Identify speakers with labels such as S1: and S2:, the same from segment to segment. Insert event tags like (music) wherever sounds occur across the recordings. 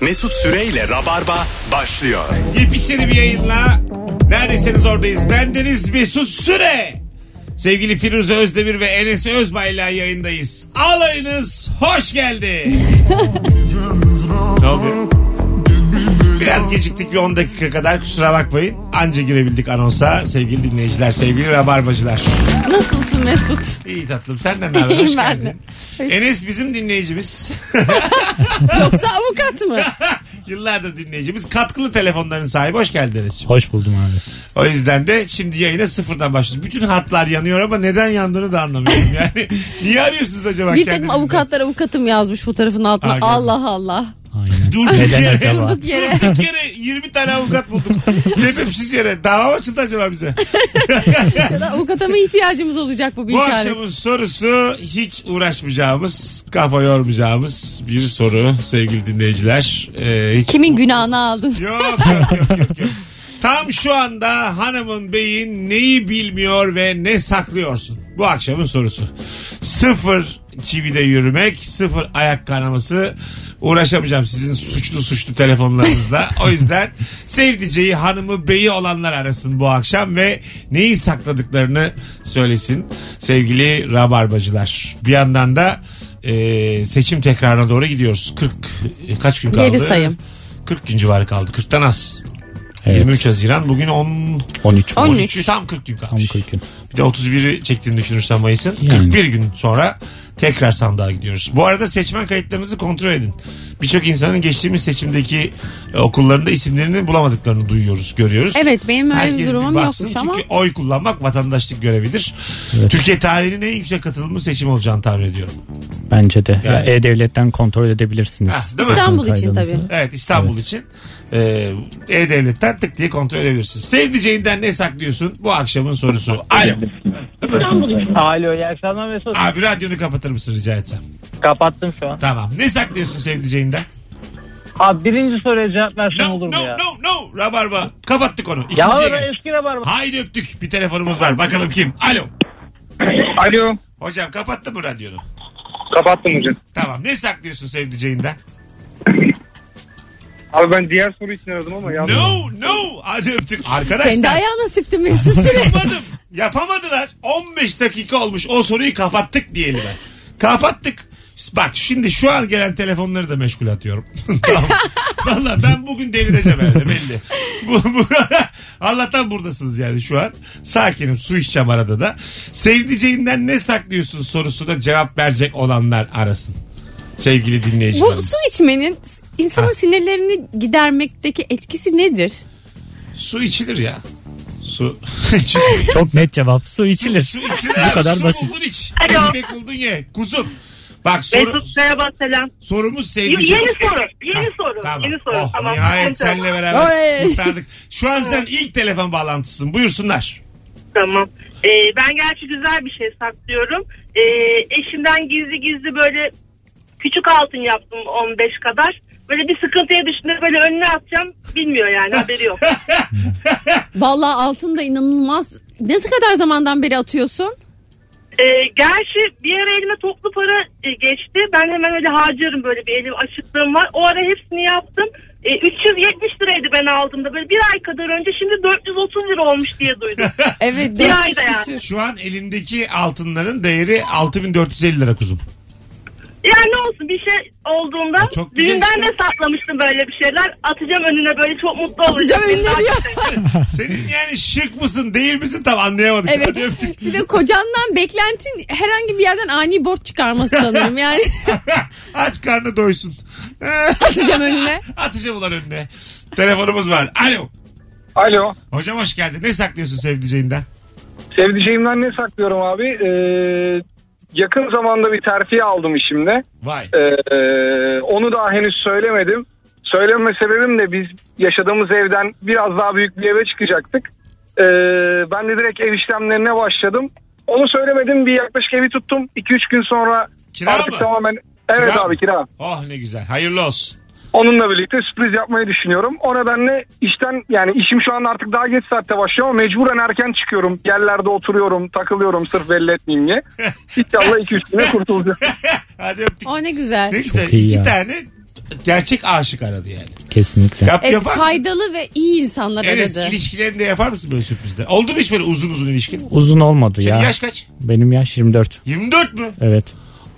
S1: Mesut Süreyle Rabarba başlıyor.
S2: Yepyeni bir yayınla neredesiniz oradayız. Bendeniz Mesut Süre. Sevgili Firuze Özdemir ve Enes Özbay'la yayındayız. Alayınız hoş geldi. ne oluyor? Biraz geciktik bir 10 dakika kadar kusura bakmayın. Anca girebildik anonsa sevgili dinleyiciler, sevgili rabarbacılar.
S3: Nasılsın Mesut?
S2: İyi tatlım senden ne
S3: (laughs)
S2: haber?
S3: İyiyim
S2: Hoş
S3: ben
S2: geldin.
S3: de. Hoş-
S2: Enes bizim dinleyicimiz. (laughs)
S3: Yoksa avukat mı?
S2: Yıllardır dinleyicimiz. Katkılı telefonların sahibi. Hoş geldin Enes'ciğim.
S4: Hoş buldum abi.
S2: O yüzden de şimdi yayına sıfırdan başlıyoruz. Bütün hatlar yanıyor ama neden yandığını da
S4: (laughs)
S2: anlamıyorum. Yani niye arıyorsunuz acaba
S3: Bir takım
S2: kendinizi?
S3: avukatlar avukatım yazmış fotoğrafın altına.
S2: Ha, gördüm.
S3: Allah Allah.
S2: (laughs)
S4: Aynen.
S2: Durduk
S4: Neden
S2: yere.
S4: acaba?
S3: Durduk
S4: (laughs)
S3: yere.
S2: Durduk yere 20 tane avukat bulduk. Sebepsiz yere. Dava mı açıldı acaba bize?
S3: ya da avukata mı ihtiyacımız olacak bu bir
S2: Bu
S3: işaret?
S2: akşamın sorusu hiç uğraşmayacağımız, kafa yormayacağımız bir soru sevgili dinleyiciler. Ee, hiç...
S3: Kimin günahını aldın?
S2: Yok yok yok yok. yok. Tam şu anda hanımın beyin neyi bilmiyor ve ne saklıyorsun? Bu akşamın sorusu. Sıfır çivide yürümek, sıfır ayak kanaması. Uğraşamayacağım sizin suçlu suçlu telefonlarınızla. o yüzden sevdiceği hanımı beyi olanlar arasın bu akşam ve neyi sakladıklarını söylesin sevgili rabarbacılar. Bir yandan da e, seçim tekrarına doğru gidiyoruz. 40 e, kaç gün kaldı?
S3: (laughs) Geri sayım.
S2: 40 gün civarı kaldı. 40'tan az.
S4: Evet.
S2: 23 Haziran bugün 10
S3: 13.
S4: 13.
S2: 13 tam 40 gün
S4: Tam
S2: kalmış.
S4: 40 gün.
S2: Bir de 31'i çektiğini düşünürsen Mayıs'ın
S4: Yani.
S2: 41 gün sonra tekrar sandığa gidiyoruz. Bu arada seçmen kayıtlarınızı kontrol edin. Birçok insanın geçtiğimiz seçimdeki e, okullarında isimlerini bulamadıklarını duyuyoruz, görüyoruz.
S3: Evet benim öyle
S2: Herkes
S3: bir durumum
S2: baksın
S3: yokmuş ama.
S2: Çünkü oy kullanmak vatandaşlık görevidir. Türkiye tarihinin en yüksek katılımlı seçim olacağını tahmin ediyorum.
S4: Bence de. Ya
S2: Yani.
S4: E-Devlet'ten kontrol edebilirsiniz.
S2: Ha, değil mi?
S3: İstanbul için
S4: Kaydınızı.
S3: tabii.
S2: Evet İstanbul için e, E-Devlet'ten tık diye kontrol edebilirsin. Sevdiceğinden ne saklıyorsun? Bu akşamın
S5: (laughs)
S2: sorusu. Alo.
S5: Alo iyi akşamlar Mesut.
S2: Abi radyonu kapatır mısın rica etsem?
S5: Kapattım şu an.
S2: Tamam. Ne saklıyorsun sevdiceğinden?
S5: Abi birinci soruya cevap versen
S2: No,
S5: olur
S2: no,
S5: mu ya?
S2: no, no. Rabarba. Kapattık onu.
S5: Ya
S2: İkinciye
S5: ben
S2: gel.
S5: eski rabarba.
S2: Haydi öptük. Bir telefonumuz var. Bakalım kim? Alo.
S6: Alo.
S2: Hocam kapattın mı radyonu?
S6: Kapattım hocam.
S2: Tamam. Ne saklıyorsun sevdiceğinden?
S6: Abi ben diğer soru için aradım ama yanlış.
S2: No, no. Hadi öptük.
S3: Kendi
S2: Arkadaşlar.
S3: ayağına sıktın
S2: (laughs)
S3: Mesut Süre.
S2: Yapamadım. Yapamadılar. 15 dakika olmuş. O soruyu kapattık diyelim ben. Kapattık. Bak şimdi şu an gelen telefonları da meşgul atıyorum. (laughs) tamam. Valla ben bugün delireceğim herhalde belli. Bu, (laughs) bu- Allah'tan buradasınız yani şu an. Sakinim su içeceğim arada da. Sevdiceğinden ne saklıyorsun sorusuna cevap verecek olanlar arasın. Sevgili
S3: bu
S2: dinleyicilerimiz.
S3: su içmenin insanın
S2: Ha.
S3: sinirlerini gidermekteki etkisi nedir?
S2: su içilir ya. Su. (laughs) Çünkü
S4: Çok net cevap. Su içilir.
S2: Su içilir abi.
S4: kadar
S2: su
S4: basit.
S2: buldun iç.
S7: Alo.
S2: Ekmek buldun ye. Kuzum. Bak soru,
S7: Mesut merhaba selam.
S2: sorumuz
S7: Y-
S2: sevdiceğim.
S7: yeni soru. Yeni
S2: Ha,
S7: soru.
S2: Tamam.
S7: Yeni soru.
S2: Oh,
S7: tamam.
S2: Nihayet
S7: Tamam.
S2: seninle beraber
S3: Oy.
S2: kurtardık. Şu an sen ilk telefon bağlantısın. Buyursunlar.
S7: Tamam. Ee, ben gerçi güzel bir şey saklıyorum. Ee, eşimden gizli gizli böyle küçük altın yaptım 15 kadar. Böyle bir sıkıntıya düşündüm böyle önüne atacağım. Bilmiyor yani haberi
S2: (laughs)
S7: yok.
S3: Vallahi altın da inanılmaz. Ne kadar zamandan beri atıyorsun?
S7: Ee, gerçi bir ara elime toplu para e, geçti. Ben hemen öyle harcarım böyle bir elim açıklığım var. O ara hepsini yaptım. E, 370 liraydı ben aldığımda böyle bir ay kadar önce şimdi 430 lira olmuş diye duydum.
S2: (laughs)
S7: Bir
S3: Evet. dört
S7: ayda
S3: yüz
S7: yani.
S3: küsür.
S2: Şu an elindeki altınların değeri 6450 lira kuzum.
S7: Yani ne olsun bir şey olduğunda
S2: E, çok güzel
S7: düğünden
S2: işte.
S7: de saklamıştım böyle bir şeyler. Atacağım önüne böyle çok mutlu olacağım.
S3: Atacağım önüne diyor.
S2: Senin yani şık mısın değil misin tam anlayamadık.
S3: Evet.
S2: Hadi öptük. (laughs)
S3: Bir de kocandan beklentin herhangi bir yerden ani borç çıkarması sanırım. Yani (laughs)
S2: Aç karnı doysun. (laughs)
S3: atacağım önüne.
S2: Atacağım ulan önüne. Telefonumuz var. Alo.
S6: Alo.
S2: Hocam hoş geldin. Ne saklıyorsun sevdiceğinden?
S6: Sevdiceğimden ne saklıyorum abi? Ee, yakın zamanda bir terfi aldım işimde.
S2: Vay.
S6: Ee, onu daha henüz söylemedim. Söyleme sebebim de biz yaşadığımız evden biraz daha büyük bir eve çıkacaktık. Ee, ben de direkt ev işlemlerine başladım. Onu söylemedim bir yaklaşık evi tuttum. 2-3 gün sonra
S2: Kira
S6: artık
S2: mı?
S6: tamamen... Evet
S2: Kira
S6: abi
S2: mı?
S6: kira.
S2: Oh ne güzel. Hayırlı olsun.
S6: Onunla birlikte sürpriz yapmayı düşünüyorum. O nedenle işten yani işim şu an artık daha geç saatte başlıyor ama mecburen erken çıkıyorum. Yerlerde oturuyorum, takılıyorum sırf belli etmeyeyim diye. İnşallah iki üç güne kurtulacağım.
S2: Hadi öptük.
S3: O ne güzel.
S2: Ne güzel.
S4: Çok iyi
S2: İki
S4: ya.
S2: tane gerçek aşık aradı yani.
S4: Kesinlikle.
S2: Yap,
S3: E,
S2: yapar mısın?
S3: faydalı ve iyi insanlar
S2: Enes
S3: aradı.
S2: ilişkilerinde yapar mısın böyle sürprizler? Oldu mu hiç böyle uzun uzun ilişkin?
S4: Uzun olmadı
S2: Senin
S4: ya.
S2: yaş kaç?
S4: Benim yaş 24.
S2: 24 mü?
S4: Evet.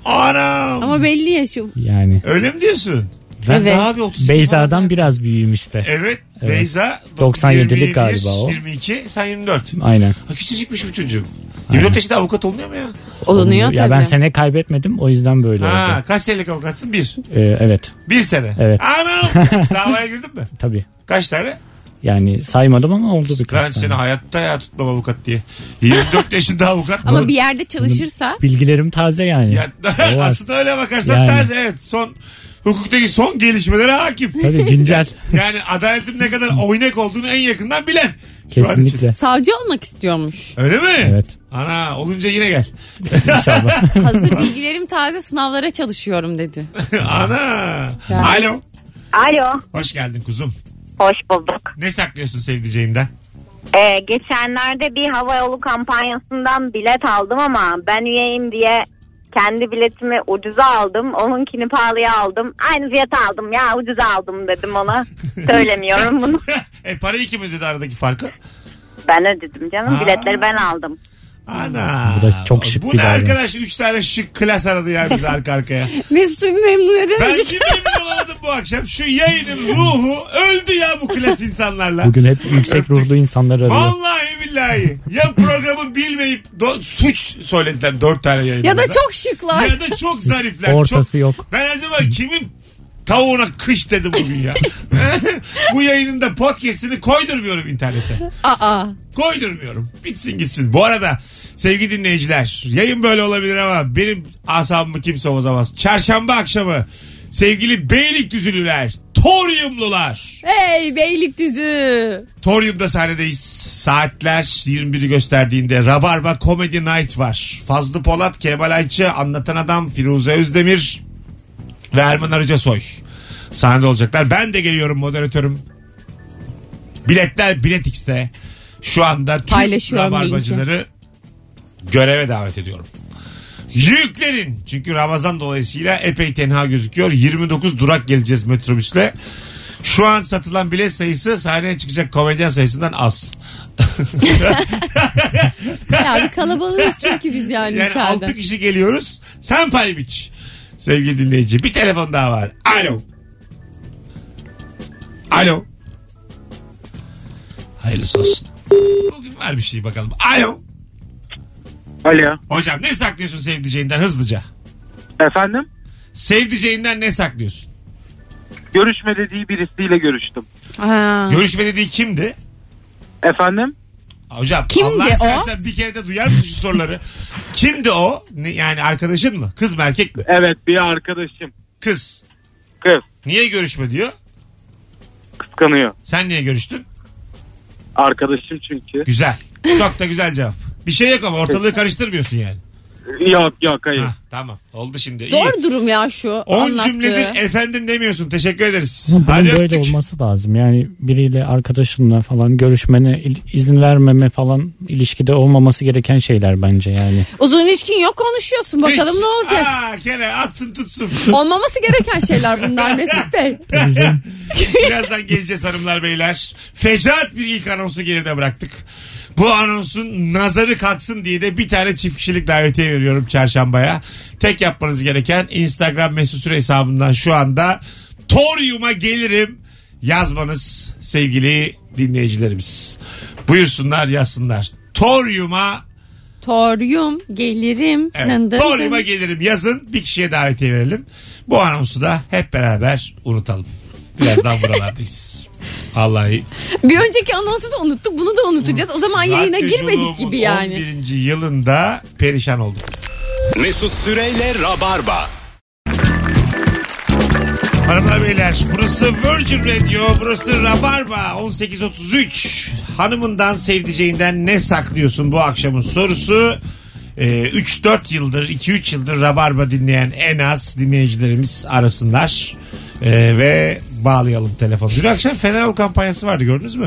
S2: Anam.
S3: Ama belli yaşı.
S4: Yani.
S2: Öyle mi diyorsun? Ben
S3: Evet.
S2: daha bir 32
S4: Beyza'dan
S2: falan-
S4: biraz büyüğüm işte.
S2: Evet,
S4: Evet.
S2: Beyza
S4: 97'lik
S2: 21,
S4: galiba o.
S2: 22 sen 24.
S4: Aynen.
S2: Ha, küçücükmüş bu çocuğum. 24 yaşında avukat olunuyor mu ya?
S3: Olunuyor
S4: ya
S3: tabii.
S4: ben sene kaybetmedim o yüzden böyle
S2: Ha,
S4: oldu.
S2: kaç senelik avukatsın? Bir.
S4: Ee, evet
S2: Bir sene.
S4: Evet. (laughs)
S2: Anam. Davaya girdin mi?
S4: tabii.
S2: Kaç tane?
S4: Yani saymadım ama oldu
S2: Ben
S4: birkaç
S2: seni
S4: tane.
S2: hayatta ya tutmam avukat diye. 24 yaşında avukat.
S3: Ama bir yerde çalışırsa
S4: Bilgilerim taze yani.
S2: Ya,
S4: O
S2: (laughs)
S4: var.
S2: aslında öyle bakarsan
S4: Yani.
S2: tersi evet son hukuktaki son gelişmelere hakim.
S4: Tabii güncel.
S2: Yani adaletin ne kadar oynak olduğunu en yakından bilen. Şu an için.
S4: Kesinlikle.
S3: savcı olmak istiyormuş.
S2: Öyle mi?
S4: Evet.
S2: Ana olunca yine gel.
S4: (laughs) İnşallah.
S3: Hazır bilgilerim taze sınavlara çalışıyorum dedi.
S2: (laughs) Ana.
S3: Ya.
S2: Alo.
S8: Alo,
S2: Hoş geldin kuzum.
S8: hoş bulduk.
S2: Ne saklıyorsun sevdiceğinden?
S8: Ee, geçenlerde bir havayolu kampanyasından bilet aldım ama ben üyeyim diye kendi biletimi ucuza aldım. Onunkini pahalıya aldım. Aynı fiyata aldım ya ucuza aldım dedim ona. Söylemiyorum bunu.
S2: (laughs) e parayı kim ödedi aradaki farkı?
S8: Ben ödedim canım.
S2: Aa.
S8: Biletleri ben aldım.
S2: Ana.
S4: Bu da çok şık
S2: Bu
S4: bir
S2: ne
S4: davranış.
S2: arkadaş? Üç tane şık klas aradı ya bizi arka arkaya.
S3: (laughs) Mesut'u memnun
S2: Ben
S3: edemedik.
S2: kimi emin olamadım bu akşam. Şu yayının ruhu öldü ya bu klas insanlarla.
S4: Bugün hep yüksek ruhlu insanlar arıyor.
S2: Vallahi billahi. Ya programı bilmeyip do- suç söylediler dört tane yayında.
S3: Ya da çok şıklar.
S2: Ya da çok zarifler.
S4: Ortası yok.
S2: Çok... Ben acaba kimin tavuğuna kış dedim bugün ya. (laughs) bu yayının da podcastini koydurmuyorum internete.
S3: Aa.
S2: Koydurmuyorum. Bitsin gitsin. Bu arada sevgili dinleyiciler yayın böyle olabilir ama benim asabımı kimse bozamaz. Çarşamba akşamı sevgili Beylikdüzülüler, Toryumlular.
S3: Hey Beylikdüzü.
S2: Torium'da sahnedeyiz. Saatler 21'i gösterdiğinde Rabarba Comedy Night var. Fazlı Polat, Kemal Ayçi, Anlatan Adam, Firuze Özdemir ve Erman Arıca Soy. Sahnede olacaklar. Ben de geliyorum moderatörüm. Biletler Bilet X'te. Şu anda tüm
S3: Paylaşıyorum
S2: Rabarbacıları göreve davet ediyorum. Yüklenin. Çünkü Ramazan dolayısıyla epey tenha gözüküyor. 29 durak geleceğiz metrobüsle. Şu an satılan bilet sayısı sahneye çıkacak komedyen sayısından az.
S3: Ya bir kalabalığız çünkü biz yani,
S2: Yani
S3: içeride.
S2: 6 kişi geliyoruz. Sen pay biç. Sevgili dinleyici bir telefon daha var. Alo. Alo. Hayırlısı olsun. Bugün var bir şey bakalım. Alo.
S5: Alo.
S2: Hocam ne saklıyorsun sevdiceğinden hızlıca?
S5: Efendim?
S2: Sevdiceğinden ne saklıyorsun?
S5: Görüşme dediği birisiyle görüştüm.
S3: Ha.
S2: Görüşme dediği kimdi?
S5: Efendim?
S2: Hocam
S3: Kimdi
S2: Allah
S3: o?
S2: istersen bir kere de duyar mısın şu soruları? Kimdi o? Ne- yani arkadaşın mı? Kız mı erkek mi?
S5: Evet bir arkadaşım.
S2: Kız.
S5: Kız
S2: Niye görüşme diyor?
S5: kıskanıyor.
S2: Sen niye görüştün?
S5: Arkadaşım çünkü.
S2: Güzel. Çok da güzel cevap. Bir şey yok ama ortalığı karıştırmıyorsun yani.
S5: Yok yok hayır.
S2: Hah, tamam. Oldu şimdi. İyi.
S3: Zor durum ya şu
S2: 10
S3: anlattığı.
S2: cümledir efendim demiyorsun. Teşekkür ederiz.
S4: Ama Bunun
S2: Hadi
S4: böyle
S2: öptük.
S4: olması lazım. Yani biriyle arkadaşınla falan görüşmene il- izin vermeme falan ilişkide olmaması gereken şeyler bence yani.
S3: Uzun ilişkin yok konuşuyorsun bakalım
S2: Hiç.
S3: ne olacak.
S2: Aa, gene atsın tutsun.
S3: Olmaması gereken
S2: (laughs)
S3: şeyler bunlar Mesut Bey.
S2: Birazdan geleceğiz hanımlar beyler. Fecaat bir ilk anonsu geride bıraktık. Bu anonsun nazarı kalksın diye de bir tane çift kişilik davetiye veriyorum çarşambaya. Tek yapmanız gereken Instagram mesut süre hesabından şu anda Torium'a gelirim yazmanız sevgili dinleyicilerimiz. Buyursunlar yazsınlar. Torium'a
S3: Toryum gelirim.
S2: Evet.
S3: Dın dın
S2: Torium'a
S3: dın.
S2: gelirim yazın. Bir kişiye davetiye verelim. Bu anonsu da hep beraber unutalım. Birazdan
S3: (laughs)
S2: buralardayız. Vallahi
S3: Bir önceki anonsu da unuttuk bunu da unutacağız. O zaman yayına
S2: radyoculuğumun
S3: girmedik gibi yani.
S2: 11. yılında perişan olduk.
S1: Mesut Süreyle Rabarba.
S2: Hanımlar beyler burası Virgin Radio burası Rabarba 1833 hanımından sevdiceğinden ne saklıyorsun bu akşamın sorusu Ee, 3-4 yıldır 2-3 yıldır Rabarba dinleyen en az dinleyicilerimiz arasınlar Ee, ve bağlayalım telefonu. Dün akşam Fener Ol kampanyası vardı gördünüz mü?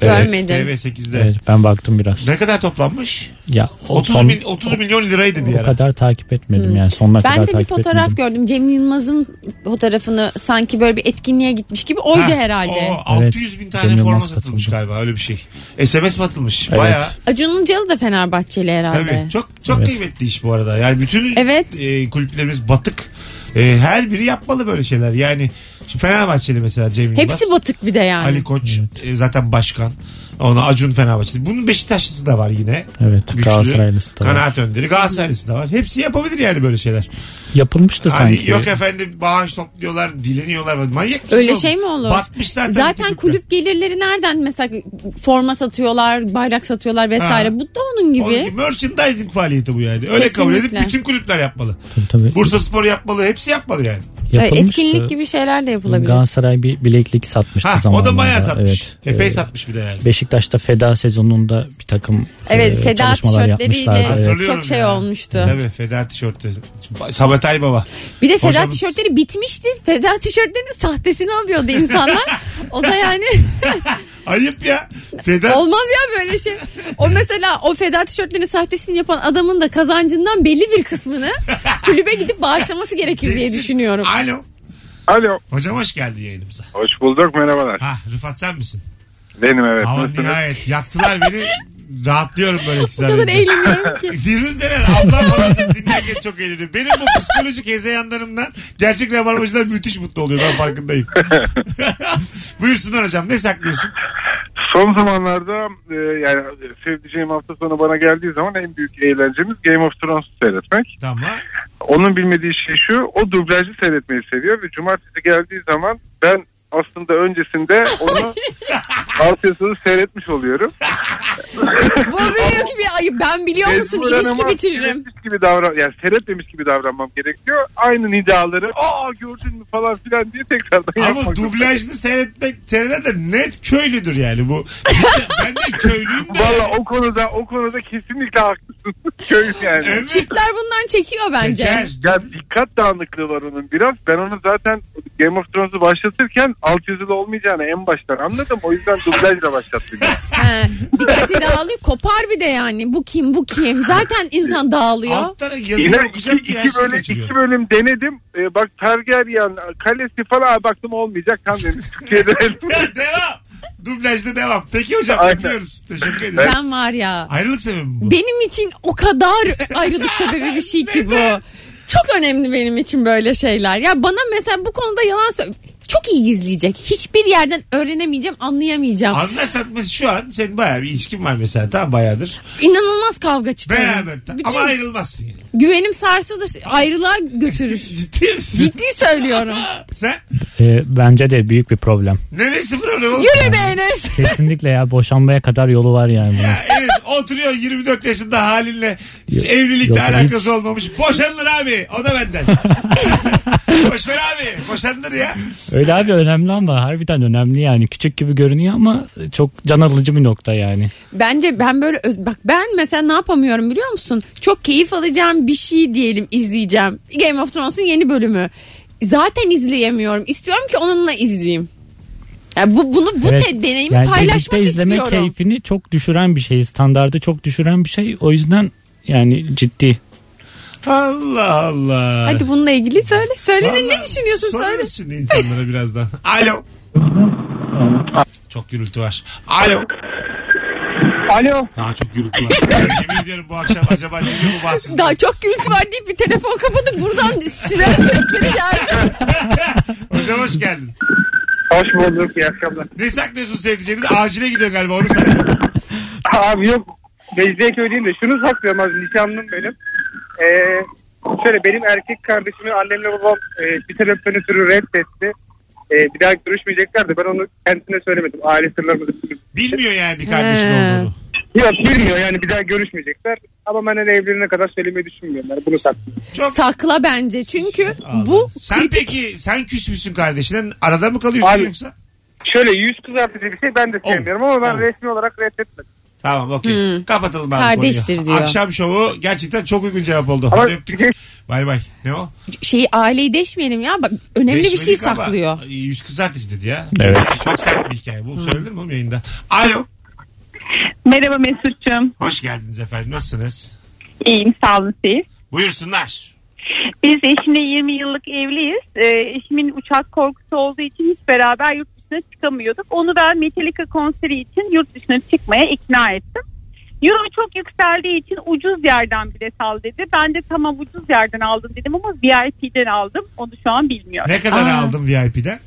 S3: Görmedim.
S2: TV8'de.
S4: Evet, ben baktım biraz.
S2: Ne kadar toplanmış?
S4: Ya o
S2: 30,
S4: son-
S2: bin- 30 milyon liraydı bir
S4: o
S2: ara.
S4: kadar takip etmedim yani sonuna
S3: Ben
S4: kadar
S3: de bir
S4: takip
S3: fotoğraf
S4: etmedim.
S3: gördüm. Cem Yılmaz'ın fotoğrafını sanki böyle bir etkinliğe gitmiş gibi oydu
S2: Ha,
S3: herhalde.
S2: o 600 bin tane
S4: Cem
S2: forma
S4: Yılmaz
S2: satılmış
S4: katıldı.
S2: galiba öyle bir şey. SMS mi atılmış?
S4: Evet.
S2: Bayağı.
S3: Acun Ilıcalı da Fenerbahçeli herhalde.
S2: Tabii. Çok çok
S4: Evet.
S2: kıymetli iş bu arada. Yani bütün
S3: Evet.
S2: e, kulüplerimiz batık. E, her biri yapmalı böyle şeyler. Yani şu Fenerbahçeli mesela Cem Yılmaz.
S3: Hepsi batık bir de yani.
S2: Ali Koç e, zaten başkan. Ona Acun Fenerbahçeli. Bunun Beşiktaşlısı da var yine.
S4: Evet, Galatasaraylısı da var.
S2: Kanaat önderi. Galatasaraylısı da var. Hepsi yapabilir yani böyle şeyler.
S4: Yapılmıştı sanki.
S2: Hani yok efendim bağış topluyorlar, dileniyorlar. Manyak mısın
S3: Öyle
S2: oğlum?
S3: şey mi olur?
S2: Batmış zaten.
S3: Zaten
S2: kulüpler.
S3: kulüp gelirleri nereden mesela forma satıyorlar, bayrak satıyorlar vesaire.
S2: Ha.
S3: Bu da onun gibi.
S2: Onun gibi merchandising faaliyeti bu yani. Öyle kabul edip
S3: Kesinlikle.
S2: bütün kulüpler yapmalı.
S4: Tabii, tabii.
S2: Bursa Spor yapmalı. Hepsi yapmalı yani.
S3: Evet,
S4: Yapılmıştı.
S3: E,
S4: Hani
S3: Etkinlik gibi şeyler de yapılabilir.
S4: Galatasaray bir bileklik satmıştı
S2: Ha, o
S4: zamanında.
S2: da bayağı satmış.
S4: Evet.
S2: Epey
S4: Ee,
S2: satmış bir de yani.
S4: Beşiktaş'ta feda sezonunda bir takım
S3: Evet,
S4: e,
S3: Feda
S4: çalışmalar
S3: tişörtleriyle
S4: yapmışlardı. Evet.
S3: Hatırlıyorum. çok şey olmuştu.
S2: Tabii Feda tişörtü. Sabatay Baba.
S3: Bir de Feda
S2: Hocamız-
S3: tişörtleri bitmişti. Feda tişörtlerinin sahtesini alıyordu insanlar. o da yani (laughs)
S2: Ayıp ya. Feda
S3: olmaz ya böyle şey. O mesela o Feda tişörtlerinin sahtesini yapan adamın da kazancından belli bir kısmını kulübe gidip bağışlaması gerekir diye
S2: Kesin.
S3: düşünüyorum.
S2: Alo.
S5: Alo.
S2: Hocam hoş geldin yayınımıza.
S5: Hoş bulduk merhabalar.
S2: Ha Rıfat sen misin?
S5: Benim evet.
S2: Ama
S5: Nasılsınız?
S2: nihayet yaktılar beni. Rahatlıyorum böyle
S3: O
S2: sizden.
S3: kadar
S2: önce.
S3: eğleniyorum ki.
S2: Firuz denen ablam falan da dinlerken çok eğleniyor. Benim bu psikolojik hezeyanlarımdan gerçek rabarbacılar müthiş mutlu oluyor. Ben
S5: (laughs)
S2: farkındayım. (laughs) Buyursunlar hocam. Ne saklıyorsun?
S5: Son zamanlarda e, yani sevdiceğim hafta sonu bana geldiği zaman en büyük eğlencemiz Game of Thrones seyretmek.
S2: Tamam.
S5: Onun bilmediği şey şu o dublajlı seyretmeyi seviyor ve cumartesi geldiği zaman ben aslında öncesinde onu (laughs) altyazılı seyretmiş oluyorum.
S3: Bu büyük bir ayıp. Ben biliyor musun
S5: Mecburen
S3: ilişki
S5: ama
S3: bitiririm.
S5: seyretmiş gibi davran yani seyretmemiş gibi davranmam gerekiyor. Aynı nidaları aa gördün mü falan filan diye tekrardan
S2: Ama
S5: yapmak.
S2: dublajlı seyretmek seyreden de net köylüdür yani bu. Bir de- ben de köylüyüm
S3: (laughs)
S2: de.
S5: Valla o konuda o konuda kesinlikle haklısın. (laughs) Köyüm yani.
S2: Evet.
S3: Çiftler bundan çekiyor bence.
S2: Çeker.
S5: Ya dikkat dağınıklığı var onun biraz. Ben onu zaten Game of Thrones'u başlatırken altyazılı olmayacağını en baştan anladım. O yüzden dublajla başlattım.
S3: He, dikkati dağılıyor. Kopar bir de yani. Bu kim bu kim? Zaten insan dağılıyor.
S2: Alttan
S5: Yine
S2: yazı
S5: iki,
S2: okuyacağım ki her
S5: iki,
S2: şeyi
S5: bölüm,
S2: kaçırıyor. (laughs)
S5: iki bölüm denedim. Ee, bak Targaryen kalesi falan Aa, baktım olmayacak. Tam dedim Türkiye'ye dönelim.
S2: (laughs) devam. Dublajda devam. Peki hocam
S5: Aynen.
S2: yapıyoruz. Teşekkür ederim.
S3: Ben var ya.
S2: Ayrılık sebebi mi bu?
S3: Benim için o kadar ayrılık sebebi bir şey ki bu. Çok önemli benim için böyle şeyler. Ya bana mesela bu konuda yalan söyle. Çok iyi gizleyecek. Hiçbir yerden öğrenemeyeceğim, anlayamayacağım.
S2: Anlarsak mesela şu an senin bayağı bir ilişkin var mesela. Tam bayağıdır.
S3: İnanılmaz kavga çıkar.
S2: Beraber.
S3: Bütün
S2: Ama ayrılmazsın yani.
S3: güvenim sarsılır, ayrılığa
S2: (laughs)
S3: götürür.
S2: Ciddi misin?
S3: Ciddi söylüyorum.
S2: Sen
S4: Ee, bence de büyük bir problem.
S2: neresi problem oğlum?
S3: Yürü be Enes.
S4: Kesinlikle ya boşanmaya kadar yolu
S2: (laughs)
S4: var yani bunun.
S2: Ya evet oturuyor 24 yaşında halinle hiç evlilikle
S4: yok,
S2: alakası
S4: hiç.
S2: olmamış. Boşanılır abi. O da
S4: (laughs)
S2: benden. Boşver abi. Boşanılır ya.
S4: Öyle abi önemli ama harbiden önemli yani. Küçük gibi görünüyor ama çok can alıcı bir nokta yani.
S3: Bence ben böyle öz- bak ben mesela ne yapamıyorum biliyor musun? Çok keyif alacağım bir şey diyelim izleyeceğim. Game of Thrones'un yeni bölümü. Zaten izleyemiyorum. İstiyorum ki onunla izleyeyim. Yani bu bunu bu
S4: Evet.
S3: te- deneyimi
S4: Yani
S3: paylaşmak
S4: birlikte izleme
S3: istiyorum.
S4: keyfini çok düşüren bir şey. Standardı çok düşüren bir şey. O yüzden yani ciddi.
S2: Allah Allah.
S3: Hadi bununla ilgili söyle. Söyle de ne
S2: Vallahi
S3: düşünüyorsun söyle.
S2: Sorarız şimdi insanlara birazdan. Alo. Çok gürültü var. Alo.
S6: Alo.
S2: Daha çok gürültü var. (laughs) Yemin ediyorum bu akşam acaba geliyor mu
S3: (laughs)
S2: bahtsızlık?
S3: Daha çok gürültü var deyip bir telefon kapadı. Buradan siren
S2: (laughs)
S3: sesleri geldi.
S2: Hocam hoş geldin.
S6: Hoş bulduk. İyi akşamlar.
S2: Ne saklıyorsun sevdiceğini? Acile gidiyor galiba onu söyle.
S6: Abi yok. Mecidiyeköy'deyim de şunu saklıyorum az nişanlım benim. Ee, şöyle benim erkek kardeşimi annemle babam e, bir sebepten ötürü reddetti. Ee, bir daha görüşmeyeceklerdi. Ben onu kendisine söylemedim. Aile sırlarımızı.
S2: Bilmiyor yani bir kardeşin
S3: He.
S2: olduğunu.
S6: Yok bilmiyor yani bir daha görüşmeyecekler. Ama ben hani evlerine kadar söylemeyi düşünmüyorum. Yani bunu saklıyorum.
S2: Çok
S3: Sakla bence. Çünkü
S2: Allah.
S3: bu
S2: Sen peki sen küs müsün kardeşine? Arada mı kalıyorsun
S6: Abi.
S2: yoksa?
S6: Şöyle yüz kızartıcı bir şey ben de sevmiyorum ama ben
S2: Oh.
S6: resmi olarak reddetmedim.
S2: Tamam okey. Kapatalım abi
S3: Ter
S2: konuyu.
S3: değiştir Hmm. diyor.
S2: Akşam şovu gerçekten çok uygun cevap oldu.
S5: Ama-
S2: Hadi öptük. Bay bay. Ne o?
S3: Şeyi şey, aileyi deşmeyelim ya. Bak, önemli bir şey
S2: Değişmedik ama
S3: saklıyor. Hmm.
S2: Yüz kızartıcı dedi ya.
S4: Evet.
S2: Çok sert bir hikaye. Bu söylenir mi oğlum yayında? Alo.
S9: Merhaba Mesut'cum.
S2: Hoş geldiniz efendim. Nasılsınız?
S9: İyiyim sağ olun siz.
S2: Buyursunlar.
S9: Biz eşimle 20 yıllık evliyiz. Ee, eşimin uçak korkusu olduğu için hiç beraber yurt dışına çıkamıyorduk. Onu ben Metallica konseri için yurt dışına çıkmaya ikna ettim. Euro çok yükseldiği için ucuz yerden bilet al dedi. Ben de tamam ucuz yerden aldım dedim ama VIP'den aldım. Onu şu an bilmiyorum.
S2: Ne kadar
S3: Aa.
S2: aldım VIP'den?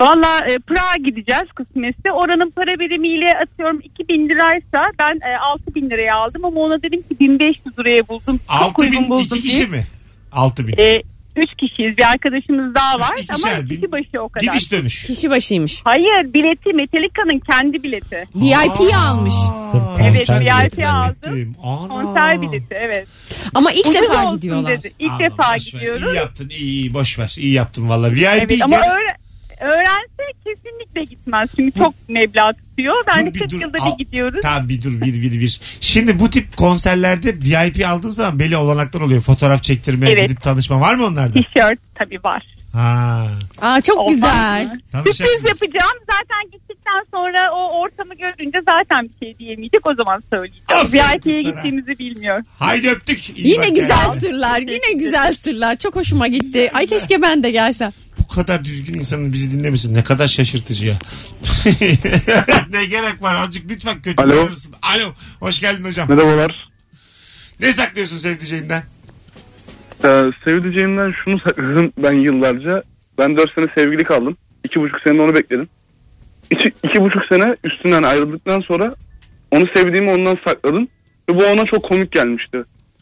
S9: Valla e, Prag'a gideceğiz kısmetse. Oranın para birimiyle atıyorum 2000 liraysa ben e, 6000 liraya aldım ama ona dedim ki 1500 liraya buldum. Çok
S2: 6
S9: uygun
S2: bin
S9: buldum diye.
S2: iki kişi mi? 6 bin.
S9: E, üç kişiyiz. Bir arkadaşımız daha var ama
S2: İkişer bin.
S9: kişi başı o kadar.
S2: Gidiş dönüş.
S3: Kişi başıymış.
S9: Hayır bileti Metallica'nın kendi bileti.
S3: VIP'yi almış.
S4: Sırf
S2: Aa,
S4: konser
S9: Evet, VIP
S4: bileti.
S9: aldım.
S2: Gittim. Ana.
S9: Konser bileti evet.
S3: Ama ilk
S9: Ucuz
S3: defa
S9: olsun
S3: gidiyorlar.
S9: Dedi. İlk
S2: Ama
S9: defa
S2: boş ver.
S9: gidiyoruz.
S2: İyi yaptın iyi iyi boş ver. İyi yaptın valla. VIP
S9: Evet, ama
S2: gene-
S9: öğre- öğrense kesinlikle gitmez. Çünkü çok meblağ tutuyor. Ben de
S2: Dur bir
S9: 40
S2: dur.
S9: yılda
S2: Al-
S9: bir gidiyoruz.
S2: Tamam bir dur bir bir bir. Şimdi bu tip konserlerde VIP aldığın zaman belli olanaklar oluyor. Fotoğraf çektirme,
S9: Evet.
S2: gidip tanışma var mı
S9: (laughs)
S2: onlarda?
S9: Tişört tabii var.
S2: Ha.
S3: Aa çok
S9: Olmaz
S3: güzel.
S9: mı? Sürpriz
S2: Tanışacaksınız.
S9: yapacağım. Zaten gittikten sonra o ortamı görünce zaten bir şey diyemeyecek. O zaman söyleyeceğim.
S2: Aferin
S9: VIP'ye
S2: kızlara.
S9: gittiğimizi bilmiyor.
S2: Haydi öptük. İyi
S3: Yine
S2: bak
S3: güzel
S2: kendine.
S3: sırlar. Yine güzel sırlar. Çok hoşuma gitti. Ay keşke ben de gelsem.
S2: Bu kadar düzgün insanın bizi dinlemesin. Ne kadar şaşırtıcı ya. (laughs) ne gerek var azıcık lütfen kötü
S5: Alo.
S2: davranırsın. Alo. Hoş geldin hocam.
S5: Merhabalar.
S2: Ne saklıyorsun sevdiceğinden?
S5: Ee, sevdiceğimden şunu sakladım ben yıllarca. Ben 4 sene sevgili kaldım. 2,5 sene de onu bekledim. 2,5 sene üstünden ayrıldıktan sonra onu sevdiğimi ondan sakladım. Ve bu ona çok komik gelmişti.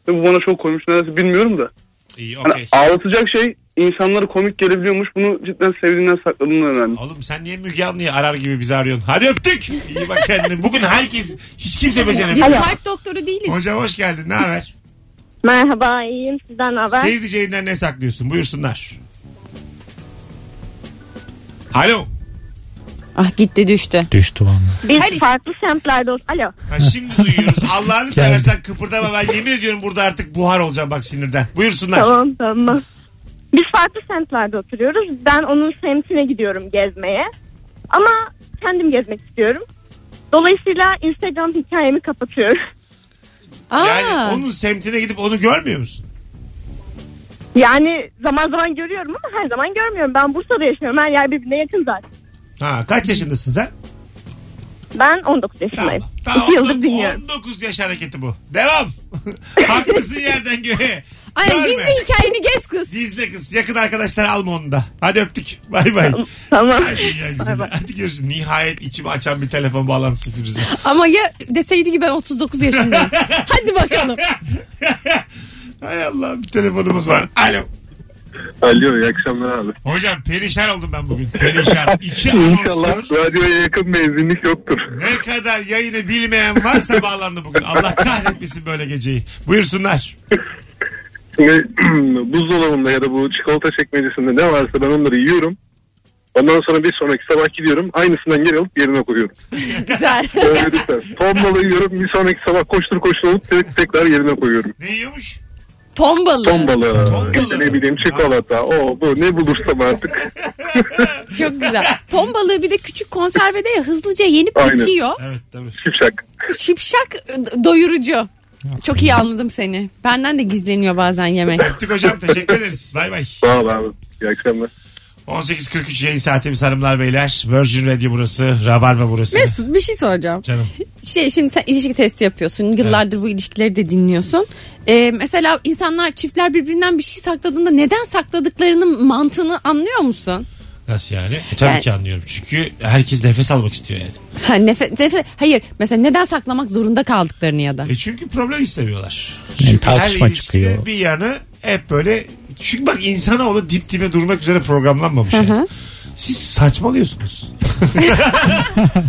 S5: Ve bu bana çok komik nedense bilmiyorum da.
S2: İyi
S5: Hani
S2: okey.
S5: ağlatacak şey insanlara komik gelebiliyormuş. Bunu cidden sevdiğinden sakladığını öğrendim.
S2: Oğlum sen niye Müge Anlı'yı arar gibi bizi arıyorsun? Hadi öptük. İyi bak kendine. Bugün herkes hiç kimse
S3: Biz
S2: beceremiyor.
S3: kalp doktoru değiliz.
S2: Hocam hoş geldin. Ne haber?
S8: Merhaba iyiyim sizden haber.
S2: Sevdiceğinden ne saklıyorsun? Buyursunlar. Alo.
S3: Ah gitti düştü.
S4: Düştü bana.
S8: Biz
S3: Her iş-
S8: farklı semtlerde ol- Alo.
S2: Ha, şimdi
S8: (laughs)
S2: duyuyoruz. Allah'ını seversen kıpırdama ben yemin ediyorum burada artık buhar olacağım bak sinirden. Buyursunlar.
S8: Tamam tamam. Biz farklı semtlerde oturuyoruz. Ben onun semtine gidiyorum gezmeye. Ama kendim gezmek istiyorum. Dolayısıyla Instagram hikayemi kapatıyorum. (laughs)
S3: Aa.
S2: Yani onun semtine gidip onu görmüyor musun?
S8: Yani zaman zaman görüyorum ama her zaman görmüyorum. Ben Bursa'da yaşıyorum. Her yer birbirine yakın zaten.
S2: Ha kaç yaşındasın sen?
S8: Ben 19
S2: Tamam.
S8: yaşındayım.
S2: Tamam.
S8: 2 yıldır
S2: on-
S8: dinliyorum.
S2: 19 yaş hareketi bu. Devam. (laughs) Haklısın yerden göğe.
S3: Ay,
S2: Görme.
S3: gizli hikayeni gez kız.
S2: Gizle kız. Yakın arkadaşlar alma onu da. Hadi öptük. Bay bay.
S8: Tamam.
S2: Ay, dünya güzeli.
S8: Bay bay.
S2: Hadi görüşürüz. Nihayet içimi açan bir telefon bağlantısı Firuze.
S3: Ama ya deseydi ki ben 39 yaşındayım. Hadi bakalım.
S2: (laughs) Hay Allah bir telefonumuz var. Alo.
S5: Alo iyi akşamlar abi.
S2: Hocam perişan oldum ben bugün. Perişan.
S5: (laughs)
S2: İki anonstur.
S5: radyoya yakın benzinlik yoktur.
S2: Ne kadar yayını bilmeyen varsa bağlandı bugün. Allah kahretmesin böyle geceyi. Buyursunlar.
S5: Şimdi (clears throat) buzdolabında ya da bu çikolata çekmecesinde ne varsa ben onları yiyorum. Ondan sonra bir sonraki sabah gidiyorum. Aynısından geri alıp yerine koyuyorum.
S3: Güzel.
S5: Öyle lütfen.
S2: (laughs)
S5: Ton balığı yiyorum. Bir sonraki sabah koştur koştur alıp tek- tekrar yerine koyuyorum.
S2: Ne yiyormuş?
S3: Ton balığı.
S5: Ton balığı.
S2: Ton
S5: işte
S2: balığı.
S5: ne bileyim çikolata. O bu ne
S2: (laughs)
S5: bulursam artık.
S3: Çok güzel. Ton balığı bir de küçük konservede ya hızlıca yenip
S5: Aynen.
S3: bitiyor.
S2: Evet tabii.
S5: Şipşak.
S3: Şipşak e, doyurucu. Çok iyi anladım seni. Benden de gizleniyor bazen yemek.
S2: Öptük hocam teşekkür ederiz. Bay bay.
S5: Sağ ol abi. İyi akşamlar.
S2: 18.43 yayın saatimiz hanımlar beyler. Virgin Radio burası. Rabarba burası.
S3: Mesut bir şey soracağım.
S2: Canım.
S3: Şey şimdi sen ilişki testi yapıyorsun. Yıllardır bu ilişkileri de dinliyorsun. Ee, mesela insanlar çiftler birbirinden bir şey sakladığında neden sakladıklarının mantığını anlıyor musun?
S2: Nasıl yani? E, tabii
S3: Yani-
S2: ki anlıyorum. Çünkü herkes nefes almak istiyor yani.
S3: Ha, nefe, nefe- hayır mesela neden saklamak zorunda kaldıklarını ya da.
S2: E çünkü problem istemiyorlar.
S4: Yani
S2: Çünkü
S4: tartışma
S2: her ilişkide
S4: çıkıyor.
S2: bir yanı hep böyle çünkü bak insanoğlu dip dibe durmak üzere programlanmamış yani. Siz saçmalıyorsunuz. (laughs)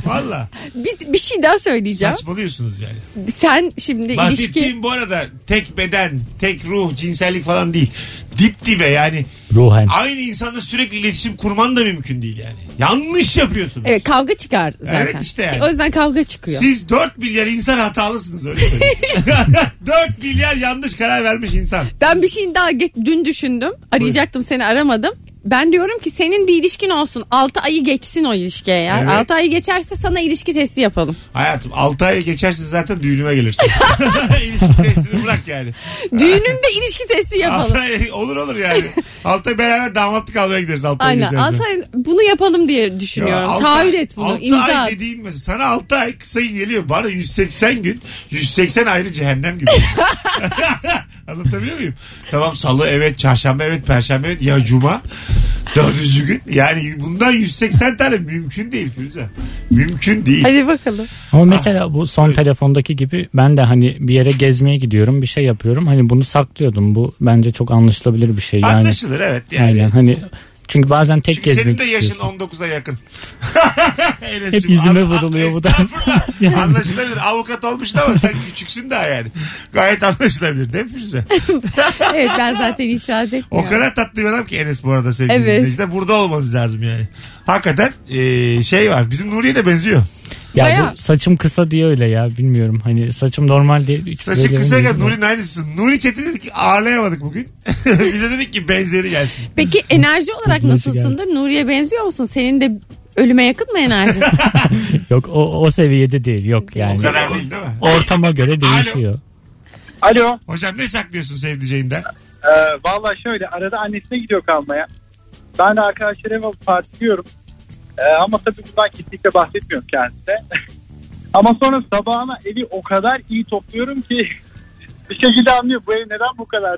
S2: Valla
S3: Bir, bir şey daha söyleyeceğim.
S2: saçmalıyorsunuz yani.
S3: Sen şimdi
S2: Bahsettiğim şey.
S3: ilişki...
S2: bu arada tek beden, tek ruh, cinsellik falan değil. Dip dibe yani.
S4: Ruhen.
S2: Aynı insanla sürekli iletişim kurman da mümkün değil yani. Yanlış yapıyorsunuz.
S3: Evet kavga çıkar zaten. E,
S2: Evet işte yani.
S3: O yüzden kavga çıkıyor.
S2: Siz 4 milyar insan hatalısınız öyle söyleyeyim.
S3: (laughs)
S2: (laughs) 4 milyar yanlış karar vermiş insan.
S3: Ben bir şey daha geç, dün düşündüm. Arayacaktım seni aramadım. Ben diyorum ki senin bir ilişkin olsun. 6 ayı geçsin o ilişkiye ya.
S2: Evet.
S3: 6 ayı geçerse sana ilişki testi yapalım.
S2: Hayatım 6 aya geçersin zaten düğünüme gelirsin. (laughs) İlişki testini bırak yani.
S3: Düğününde ilişki testi yapalım.
S2: Altı ay, olur olur yani. 6 ay beraber damatlık almaya gideriz 6 ay
S3: Aynen.
S2: geçerse.
S3: 6 ay bunu yapalım diye düşünüyorum. Taahhüt et bunu.
S2: 6
S3: imza
S2: ay
S3: at.
S2: dediğin mesela sana 6 ay kısa geliyor. Bana 180 gün 180 ayrı cehennem gibi. (laughs) Anlatabiliyor muyum? Tamam salı evet, çarşamba evet, perşembe evet ya cuma. Dördüncü gün. Yani bundan 180 tane mümkün değil Firuze. Mümkün değil.
S3: Hadi bakalım.
S4: Ama mesela bu son telefondaki gibi ben de hani bir yere gezmeye gidiyorum bir şey yapıyorum. Hani bunu saklıyordum. Bu bence çok anlaşılabilir bir şey. Yani,
S2: Anlaşılır evet. Yani.
S4: Aynen hani çünkü bazen tek
S2: Çünkü senin
S4: gezmek
S2: de yaşın
S4: istiyorsun.
S2: 19'a
S4: (laughs)
S2: yakın. Enes'cim,
S4: Hep yüzüme
S2: an- an-
S4: vuruluyor bu
S2: (laughs)
S4: da.
S2: estağfurullah. Anlaşılabilir. Avukat olmuşsun ama sen küçüksün daha yani. Gayet anlaşılabilir değil mi Firuze?
S3: (laughs) Evet ben zaten itiraz
S2: O
S3: etmiyorum.
S2: kadar tatlı bir adam ki Enes bu arada sevgili
S3: Evet.
S2: dinleyiciler. Burada olmanız lazım yani. Hakikaten e, şey var. Bizim Nuriye de benziyor.
S4: Ya
S3: Bayağı.
S4: bu saçım kısa diye öyle ya bilmiyorum. Hani saçım normal diye. hiç
S2: Saçı
S4: böyle
S2: kısa
S4: bir- şey
S2: gel Nuri'nin aynısısın. Nuri Çetin dedik ki ağırlayamadık bugün. (laughs) Bize dedik ki benzeri gelsin.
S3: Peki enerji olarak
S4: Teknoloji
S3: nasılsındır? Nuriye benziyor musun? Senin de ölüme yakın
S2: (laughs)
S3: mı enerji?
S4: Yok o, o seviyede değil yok yani.
S2: O kadar değil değil mi?
S4: Ortama göre değişiyor.
S5: Alo.
S2: Hocam ne saklıyorsun sevdiceğinden? (laughs)
S5: Ee, Valla şöyle arada annesine gidiyor kalmaya. Ben de arkadaşlar ev alıp partiliyorum. Ee, ama tabii bundan kesinlikle bahsetmiyorum kendisine. (laughs) ama sonra sabahına evi o kadar iyi topluyorum ki (laughs) bir şekilde anlıyor bu ev neden bu (laughs) kadar.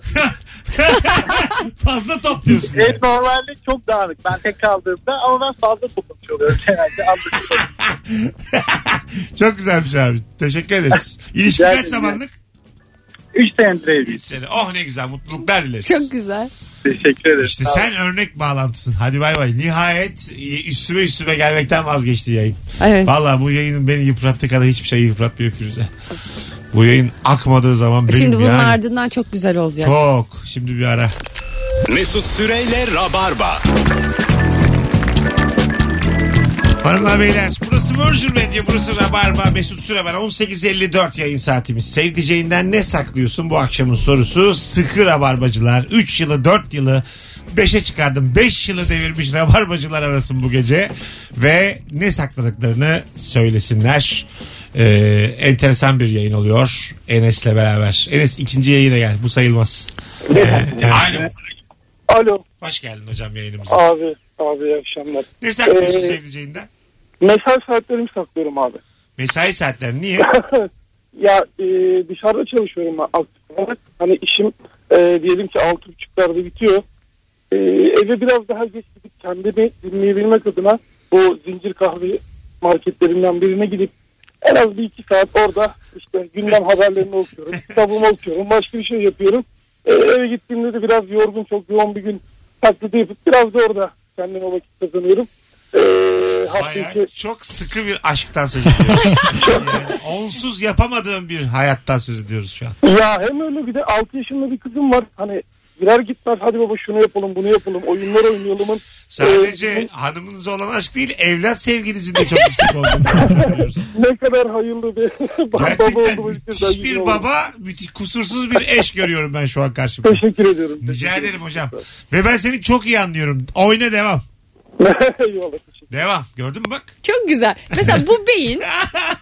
S2: Fazla topluyorsun.
S5: ev normalde çok dağınık ben tek kaldığımda ama ben fazla toplamış oluyorum genelde. (laughs) Anlaşılıyor.
S2: Çok güzelmiş abi. Teşekkür ederiz. İlişki
S5: Rica
S2: kaç
S5: ederim.
S2: zamanlık?
S5: Üç senedir evliyiz.
S2: 3 sene. Oh ne güzel. Mutluluklar dileriz.
S3: Çok güzel.
S5: Teşekkür ederim.
S2: İşte
S5: Sağ olun.
S2: sen örnek bağlantısın. Hadi bay bay. Nihayet e, üstüme üstüme gelmekten vazgeçti yayın.
S3: Evet.
S2: Valla bu yayının beni yıprattığı kadar hiçbir şey yıpratmıyor Firuze. Bu yayın akmadığı zaman benim
S3: E Şimdi bunun
S2: yani.
S3: ardından çok güzel olacak.
S2: Çok. Şimdi bir ara.
S1: Mesut Süreyle Rabarba.
S2: Hanımlar beyler burası Virgin Media burası Rabarba Mesut Süre ben 18.54 yayın saatimiz. Sevdiceğinden ne saklıyorsun bu akşamın sorusu sıkı Rabarbacılar. 3 yılı 4 yılı 5'e çıkardım. 5 yılı devirmiş Rabarbacılar arasın bu gece ve ne sakladıklarını söylesinler. Ee, enteresan bir yayın oluyor Enes'le beraber. Enes ikinci yayına gel bu sayılmaz. Alo.
S5: Ee, Alo
S2: Hoş geldin hocam yayınımıza.
S5: abi. Abi iyi akşamlar.
S2: Ne saklıyorsun
S5: Ee,
S2: sevdiceğinden?
S5: Mesai saatlerimi saklıyorum abi.
S2: Mesai saatleri niye?
S5: ya e, dışarıda çalışıyorum ben aktif olarak. Hani işim e, diyelim ki altı buçuklarda bitiyor. E, eve biraz daha geç gidip kendimi dinleyebilmek adına bu zincir kahve marketlerinden birine gidip en az bir iki saat orada işte gündem haberlerini okuyorum, kitabımı okuyorum, başka bir şey yapıyorum. E, eve gittiğimde de biraz yorgun, çok yoğun bir gün taklidi yapıp biraz da orada kendime vakit kazanıyorum. E, hafta
S2: Bayağı
S5: içi
S2: çok sıkı bir aşktan söz
S5: (laughs)
S2: ediyoruz. yani onsuz yapamadığım bir hayattan söz ediyoruz şu an.
S5: Ya hem öyle bir de 6 yaşında bir kızım var. Hani girer gitmez hadi baba şunu yapalım bunu yapalım oyunlar oynayalım.
S2: Sadece
S5: Ee,
S2: hanımınıza olan aşk değil evlat sevginizin de çok yüksek olduğunu söylüyoruz.
S5: ne kadar hayırlı bir (laughs) baba
S2: Gerçekten
S5: olduğumuz için
S2: müthiş bir
S5: zengin oldum.
S2: baba, müthiş kusursuz bir eş görüyorum ben şu an karşımda.
S5: Teşekkür ediyorum.
S2: Rica ederim hocam. Ve ben seni çok iyi anlıyorum. Oyna devam.
S5: (laughs) Eyvallah.
S2: Devam. Gördün mü bak?
S3: Çok güzel. Mesela bu
S2: (laughs)
S3: beyin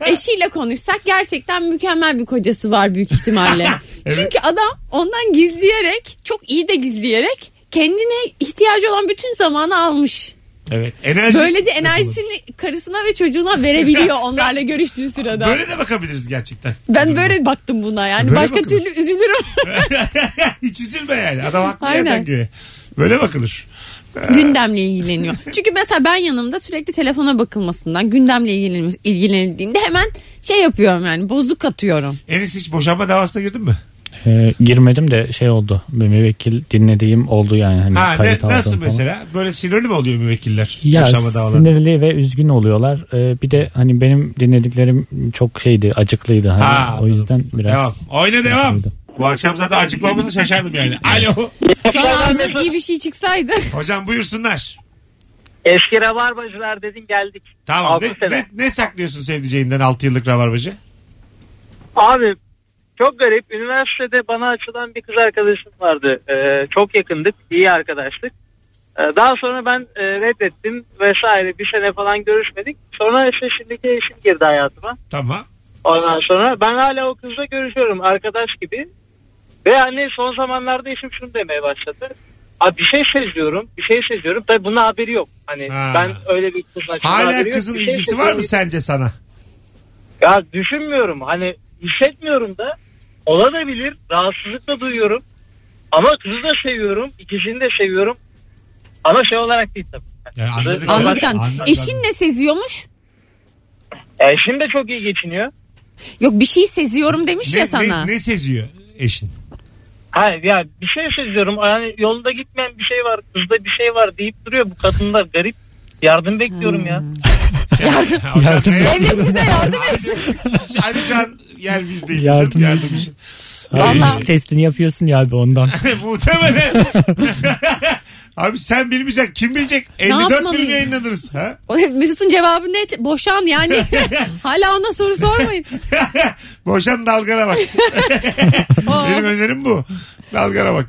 S3: eşiyle konuşsak gerçekten mükemmel bir kocası var büyük ihtimalle.
S2: (laughs) Evet.
S3: Çünkü adam ondan gizleyerek, çok iyi de gizleyerek kendine ihtiyacı olan bütün zamanı almış.
S2: Evet. Enerji.
S3: Böylece enerjisini karısına ve çocuğuna
S2: (laughs)
S3: verebiliyor onlarla görüştüğü sırada.
S2: Böyle de bakabiliriz gerçekten.
S3: ben böyle baktım buna yani.
S2: Böyle
S3: Başka
S2: bakılır.
S3: türlü üzülürüm.
S2: (laughs) Hiç üzülme yani. Adam haklı
S3: Aynen.
S2: yerden göğe. Böyle bakılır.
S3: (laughs) gündemle ilgileniyor. Çünkü mesela ben yanımda sürekli telefona bakılmasından gündemle ilgilenilmesi- ilgilenildiğinde hemen şey yapıyorum yani bozuk atıyorum.
S2: Enes hiç boşanma davasına girdin mi?
S4: Ee, girmedim de şey oldu. Bir müvekkil dinlediğim oldu yani. Hani
S2: Ha ne,
S4: kayıt aldım
S2: nasıl
S4: falan.
S2: mesela? Böyle sinirli mi oluyor müvekkiller?
S4: Ya
S2: Yaşama davaları.
S4: sinirli ve üzgün oluyorlar. Ee, bir de hani benim dinlediklerim çok şeydi, acıklıydı. Hani.
S2: Ha,
S4: o
S2: anladım.
S4: yüzden biraz.
S2: Devam. Oyna devam. Bu akşam zaten açıklamamızı şaşardım (laughs) yani. Alo.
S3: Şu an ağzına iyi bir
S2: (laughs)
S3: şey çıksaydı.
S2: Hocam buyursunlar.
S10: Eski rabarbacılar dedin geldik.
S2: Tamam.
S10: Altı
S2: Ne,
S10: sene.
S2: ne, ne saklıyorsun sevdiceğinden 6 yıllık rabarbacı?
S10: Abi çok garip. Üniversitede bana açılan bir kız arkadaşım vardı. Ee, çok yakındık. iyi arkadaştık. Ee, daha sonra ben e, reddettim vesaire. Bir sene falan görüşmedik. Sonra işte şimdiki eşim girdi hayatıma.
S2: Tamam.
S10: Ondan sonra ben hala o kızla görüşüyorum. Arkadaş gibi. Ve hani son zamanlarda eşim şunu demeye başladı. Abi bir şey seziyorum. Bir şey seziyorum. Tabii bunun haberi yok. Hani
S2: Ha.
S10: ben öyle bir kızla
S2: Hala kızın
S10: Bir şey
S2: ilgisi var
S10: seziyorum.
S2: mı sence sana?
S10: Ya düşünmüyorum hani hissetmiyorum da olabilir rahatsızlık da duyuyorum ama kızı da seviyorum ikisini de seviyorum ama şey olarak değil tabii.
S2: Ya anladık.
S3: Anladıktan.
S2: Anladık.
S3: Eşin ne seziyormuş?
S10: Yani eşim de çok iyi geçiniyor.
S3: Yok bir şey seziyorum demiş
S2: ne,
S3: ya sana.
S2: Ne, ne seziyor eşin?
S10: Ha ya bir şey seziyorum yani yolunda gitmeyen bir şey var kızda bir şey var deyip duruyor bu kadınlar garip yardım bekliyorum ya.
S2: (laughs)
S3: Yardım.
S2: Yardım.
S3: Devlet bize yardım etsin.
S2: (laughs) Ayrıca yer
S4: (laughs)
S2: biz değil. Yardım.
S4: Yardım.
S2: Yardım işi.
S4: Abi,
S3: Vallahi-
S4: ilişki testini yapıyorsun ya abi ondan.
S2: (laughs) Muhtemelen.
S4: (laughs)
S2: Abi sen bilmeyecek kim bilecek? 54
S3: yapmalıyım?
S2: bölüm yayınlanırız. Ha? (laughs)
S3: O- Mesut'un cevabı net. Boşan yani. Hala ona soru sormayın.
S2: Boşan dalgana
S3: (laughs)
S2: bak. Benim önerim bu. Dalgana bak.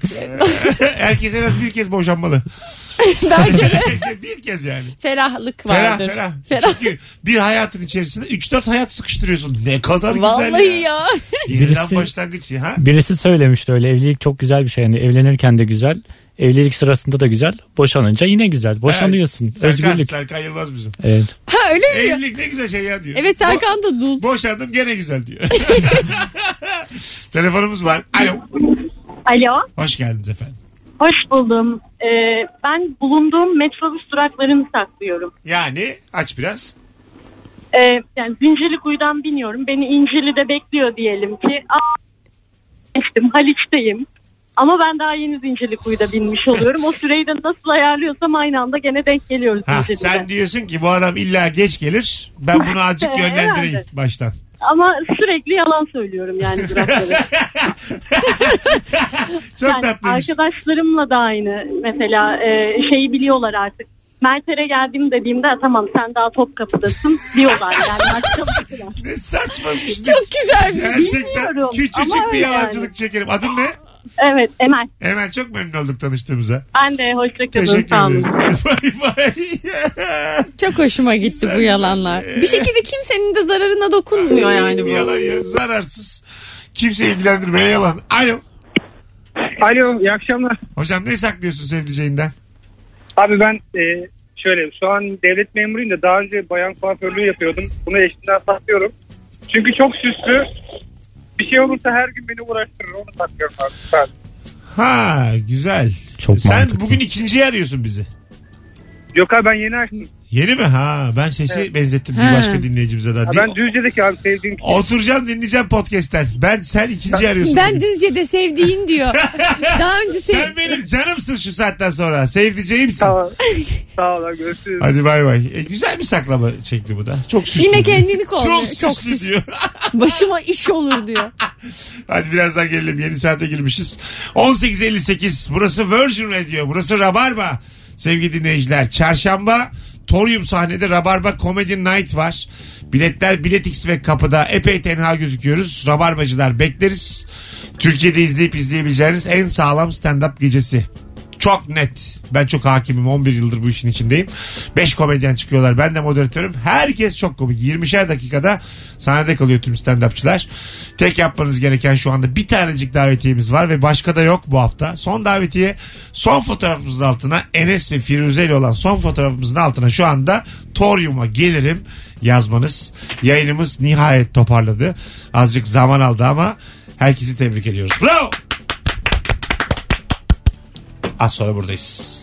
S2: (laughs) Herkes en az bir kez boşanmalı.
S3: Bence
S2: (laughs)
S3: de
S2: bir kez yani.
S3: ferahlık
S2: Ferah
S3: vardır.
S2: ferah. Çünkü bir hayatın içerisinde 3-4 hayat sıkıştırıyorsun. Ne kadar güzel
S3: Vallahi
S2: ya.
S3: ya. (laughs)
S2: Yeniden
S4: Birisi-
S2: başlangıç. ya, Ha?
S4: Birisi söylemişti öyle evlilik çok güzel bir şey. Yani evlenirken de güzel. Evlilik sırasında da güzel. Boşanınca yine güzel. Boşanıyorsun.
S2: Serkan,
S4: Özgürlük.
S2: Serkan Yılmaz bizim.
S4: Evet.
S3: Ha öyle mi?
S2: Evlilik ne güzel şey ya diyor.
S3: Evet Serkan da dul.
S2: Bo- boşandım gene güzel
S3: (laughs)
S2: diyor. (laughs) Telefonumuz var. Alo.
S9: Alo.
S2: Hoş geldiniz efendim.
S9: Hoş buldum. Ee, ben bulunduğum metrobüs duraklarını saklıyorum.
S2: Yani aç biraz.
S9: Ee, yani Zincirli kuyudan biniyorum. Beni İncirli'de bekliyor diyelim ki. Aa, geçtim Haliç'teyim. Ama ben daha yeni Zincirli kuyuda binmiş oluyorum. O süreyi de nasıl ayarlıyorsam aynı anda gene denk geliyoruz
S2: Ha,
S9: Zincirli'de.
S2: sen diyorsun ki bu adam illa geç gelir. Ben bunu azıcık
S9: (laughs) Evet.
S2: yönlendireyim baştan.
S9: Ama sürekli yalan söylüyorum
S2: (laughs)
S9: yani durakları.
S2: Çok
S9: Yani
S2: tatlıymış.
S9: arkadaşlarımla da aynı mesela e, şeyi biliyorlar artık. Mert'e geldim dediğimde "Ha, tamam sen daha Topkapı'dasın diyorlar yani. şey Artık
S2: (laughs)
S9: kapatıyorlar.
S2: Ne saçmamış.
S3: Çok güzelmiş.
S2: Gerçekten
S9: Bilmiyorum
S2: küçücük
S9: ama
S2: bir
S9: öyle
S2: yalancılık çekerim. Adın ne?
S9: evet Emel
S2: Hemen çok memnun olduk tanıştığımıza.
S9: ben de hoşçakalın
S2: Teşekkür
S9: sağ olun. (laughs)
S2: ederiz. bay bay.
S3: Çok hoşuma gitti bu yalanlar. Bir şekilde kimsenin de zararına dokunmuyor yani bu.
S2: Ee. Yalan ya zararsız. Kimse ilgilendirmeye yalan. Alo.
S6: Alo iyi akşamlar.
S2: Hocam ne saklıyorsun sevdiceğinden?
S6: Abi ben e, şöyle şu an devlet memuruyum da daha önce bayan kuaförlüğü yapıyordum. Bunu eşimden saklıyorum. Çünkü çok süslü. Bir şey olursa her gün beni uğraştırır. Onu saklıyorum abi. Ben.
S2: Ha güzel.
S4: Çok
S2: Sen
S4: mantıklı.
S2: bugün ikinciyi arıyorsun bizi.
S6: Yok abi ben yeni açtım.
S2: Yeni mi? Ha ben sesi benzettim bir
S3: Ha.
S2: başka dinleyicimize daha.
S6: Ha,
S2: Değil-
S6: ben Düzce'deki abi sevdiğim kişi.
S2: Oturacağım dinleyeceğim podcast'ten. Ben sen ikinci arıyorsun.
S3: Ben
S2: bugün.
S3: Düzce'de
S2: (laughs)
S3: sevdiğin diyor. Daha önce sev...
S2: Sen benim canımsın şu saatten sonra. Sevdiceğimsin.
S6: Sağ ol. Sağ ol abi, görüşürüz.
S2: Hadi bay bay. E, güzel bir saklama şekli bu da. Çok süslü.
S3: Yine
S2: diyor.
S3: kendini kolluyor.
S2: Çok,
S3: Çok,
S2: süslü,
S3: süslü.
S2: diyor.
S3: Başıma iş olur diyor.
S2: Hadi birazdan gelelim. Yeni saate girmişiz. 18.58. Burası Virgin Radio. Burası Rabarba. Sevgili dinleyiciler. Çarşamba Torium sahnede Rabarba Comedy Night var. Biletler Biletix ve kapıda epey tenha gözüküyoruz. Rabarbacılar bekleriz. Türkiye'de izleyip izleyebileceğiniz en sağlam stand-up gecesi. Çok net. Ben çok hakimim. 11 yıldır bu işin içindeyim. 5 komedyen çıkıyorlar. Ben de moderatörüm. Herkes çok komik. 20'şer dakikada sahnede kalıyor tüm stand-upçılar. Tek yapmanız gereken şu anda bir tanecik davetiyemiz var ve başka da yok bu hafta. Son davetiye son fotoğrafımızın altına Enes ve Firuze ile olan son fotoğrafımızın altına şu anda Torium'a gelirim yazmanız. Yayınımız nihayet toparladı. Azıcık zaman aldı ama herkesi tebrik ediyoruz. Bravo. Az sonra buradayız.